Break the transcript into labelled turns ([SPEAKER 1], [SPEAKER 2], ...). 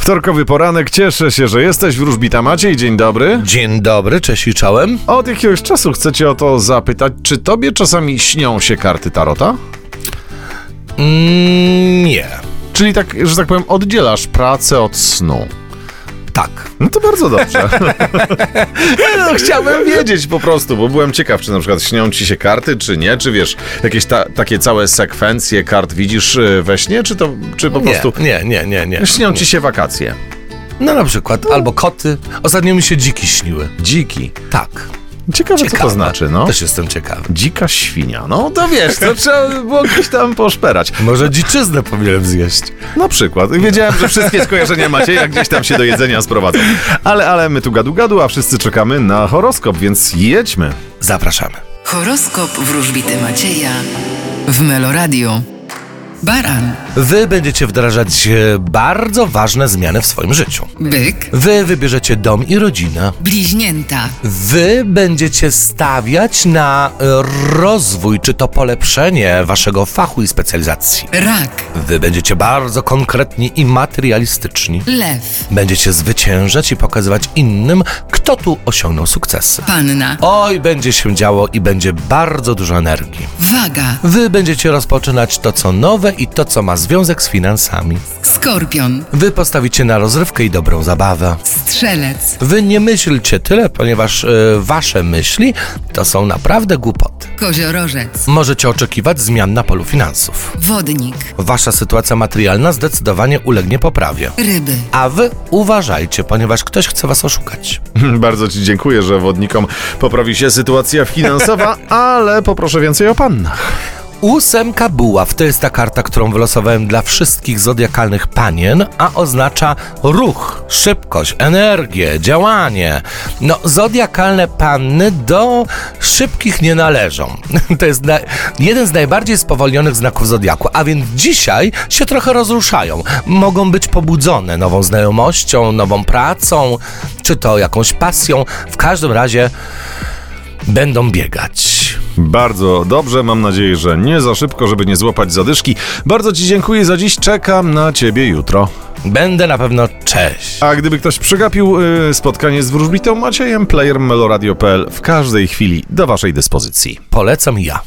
[SPEAKER 1] Wtorkowy poranek, cieszę się, że jesteś. Wróżbita Maciej, dzień dobry.
[SPEAKER 2] Dzień dobry, cześć i czołem.
[SPEAKER 1] Od jakiegoś czasu chcę cię o to zapytać, czy tobie czasami śnią się karty tarota?
[SPEAKER 2] Mm, nie.
[SPEAKER 1] Czyli tak, że tak powiem, oddzielasz pracę od snu.
[SPEAKER 2] Tak.
[SPEAKER 1] No to bardzo dobrze. no, chciałbym wiedzieć po prostu, bo byłem ciekaw, czy na przykład śnią ci się karty, czy nie, czy wiesz, jakieś ta, takie całe sekwencje kart widzisz y, we śnie, czy to, czy po
[SPEAKER 2] nie,
[SPEAKER 1] prostu
[SPEAKER 2] nie, nie, nie, nie.
[SPEAKER 1] śnią ci się wakacje?
[SPEAKER 2] No na przykład, albo koty. Ostatnio mi się dziki śniły.
[SPEAKER 1] Dziki.
[SPEAKER 2] Tak.
[SPEAKER 1] Ciekawe, co to
[SPEAKER 2] Ciekawe.
[SPEAKER 1] znaczy, no.
[SPEAKER 2] Też jestem ciekawy.
[SPEAKER 1] Dzika świnia. No to wiesz, to trzeba by było gdzieś tam poszperać.
[SPEAKER 2] Może dziczyznę powinienem zjeść.
[SPEAKER 1] Na przykład. Wiedziałem, że wszystkie skojarzenia macie, jak gdzieś tam się do jedzenia sprowadzą. Ale, ale my tu gadu gadu, a wszyscy czekamy na horoskop, więc jedźmy.
[SPEAKER 2] Zapraszamy.
[SPEAKER 3] Horoskop wróżbity Macieja w Meloradio. Baran,
[SPEAKER 2] Wy będziecie wdrażać e, bardzo ważne zmiany w swoim życiu.
[SPEAKER 3] byk,
[SPEAKER 2] Wy wybierzecie dom i rodzinę.
[SPEAKER 3] bliźnięta,
[SPEAKER 2] Wy będziecie stawiać na e, rozwój, czy to polepszenie waszego fachu i specjalizacji.
[SPEAKER 3] rak,
[SPEAKER 2] Wy będziecie bardzo konkretni i materialistyczni.
[SPEAKER 3] lew,
[SPEAKER 2] Będziecie zwyciężać i pokazywać innym, kto tu osiągnął sukcesy.
[SPEAKER 3] panna,
[SPEAKER 2] Oj, będzie się działo i będzie bardzo dużo energii.
[SPEAKER 3] waga,
[SPEAKER 2] Wy będziecie rozpoczynać to, co nowe i to, co ma związek z finansami.
[SPEAKER 3] skorpion,
[SPEAKER 2] Wy postawicie na rozrywkę i dobrą zabawę.
[SPEAKER 3] strzelec,
[SPEAKER 2] Wy nie myślcie tyle, ponieważ e, wasze myśli to są naprawdę głupoty.
[SPEAKER 3] koziorożec,
[SPEAKER 2] Możecie oczekiwać zmian na polu finansów.
[SPEAKER 3] wodnik,
[SPEAKER 2] Wasza sytuacja materialna zdecydowanie ulegnie poprawie.
[SPEAKER 3] ryby.
[SPEAKER 2] A wy uważajcie, ponieważ ktoś chce was oszukać.
[SPEAKER 1] Bardzo Ci dziękuję, że wodnikom poprawi się sytuacja finansowa, ale poproszę więcej o pannach.
[SPEAKER 2] Ósemka buław to jest ta karta, którą wylosowałem dla wszystkich zodiakalnych panien, a oznacza ruch, szybkość, energię, działanie. No, zodiakalne panny do szybkich nie należą. To jest na, jeden z najbardziej spowolnionych znaków zodiaku, a więc dzisiaj się trochę rozruszają. Mogą być pobudzone nową znajomością, nową pracą, czy to jakąś pasją. W każdym razie będą biegać.
[SPEAKER 1] Bardzo dobrze, mam nadzieję, że nie za szybko, żeby nie złapać zadyszki. Bardzo Ci dziękuję za dziś, czekam na Ciebie jutro.
[SPEAKER 2] Będę na pewno cześć.
[SPEAKER 1] A gdyby ktoś przegapił y, spotkanie z wróżbitą Maciejem, player meloradio.pl w każdej chwili do Waszej dyspozycji.
[SPEAKER 2] Polecam ja.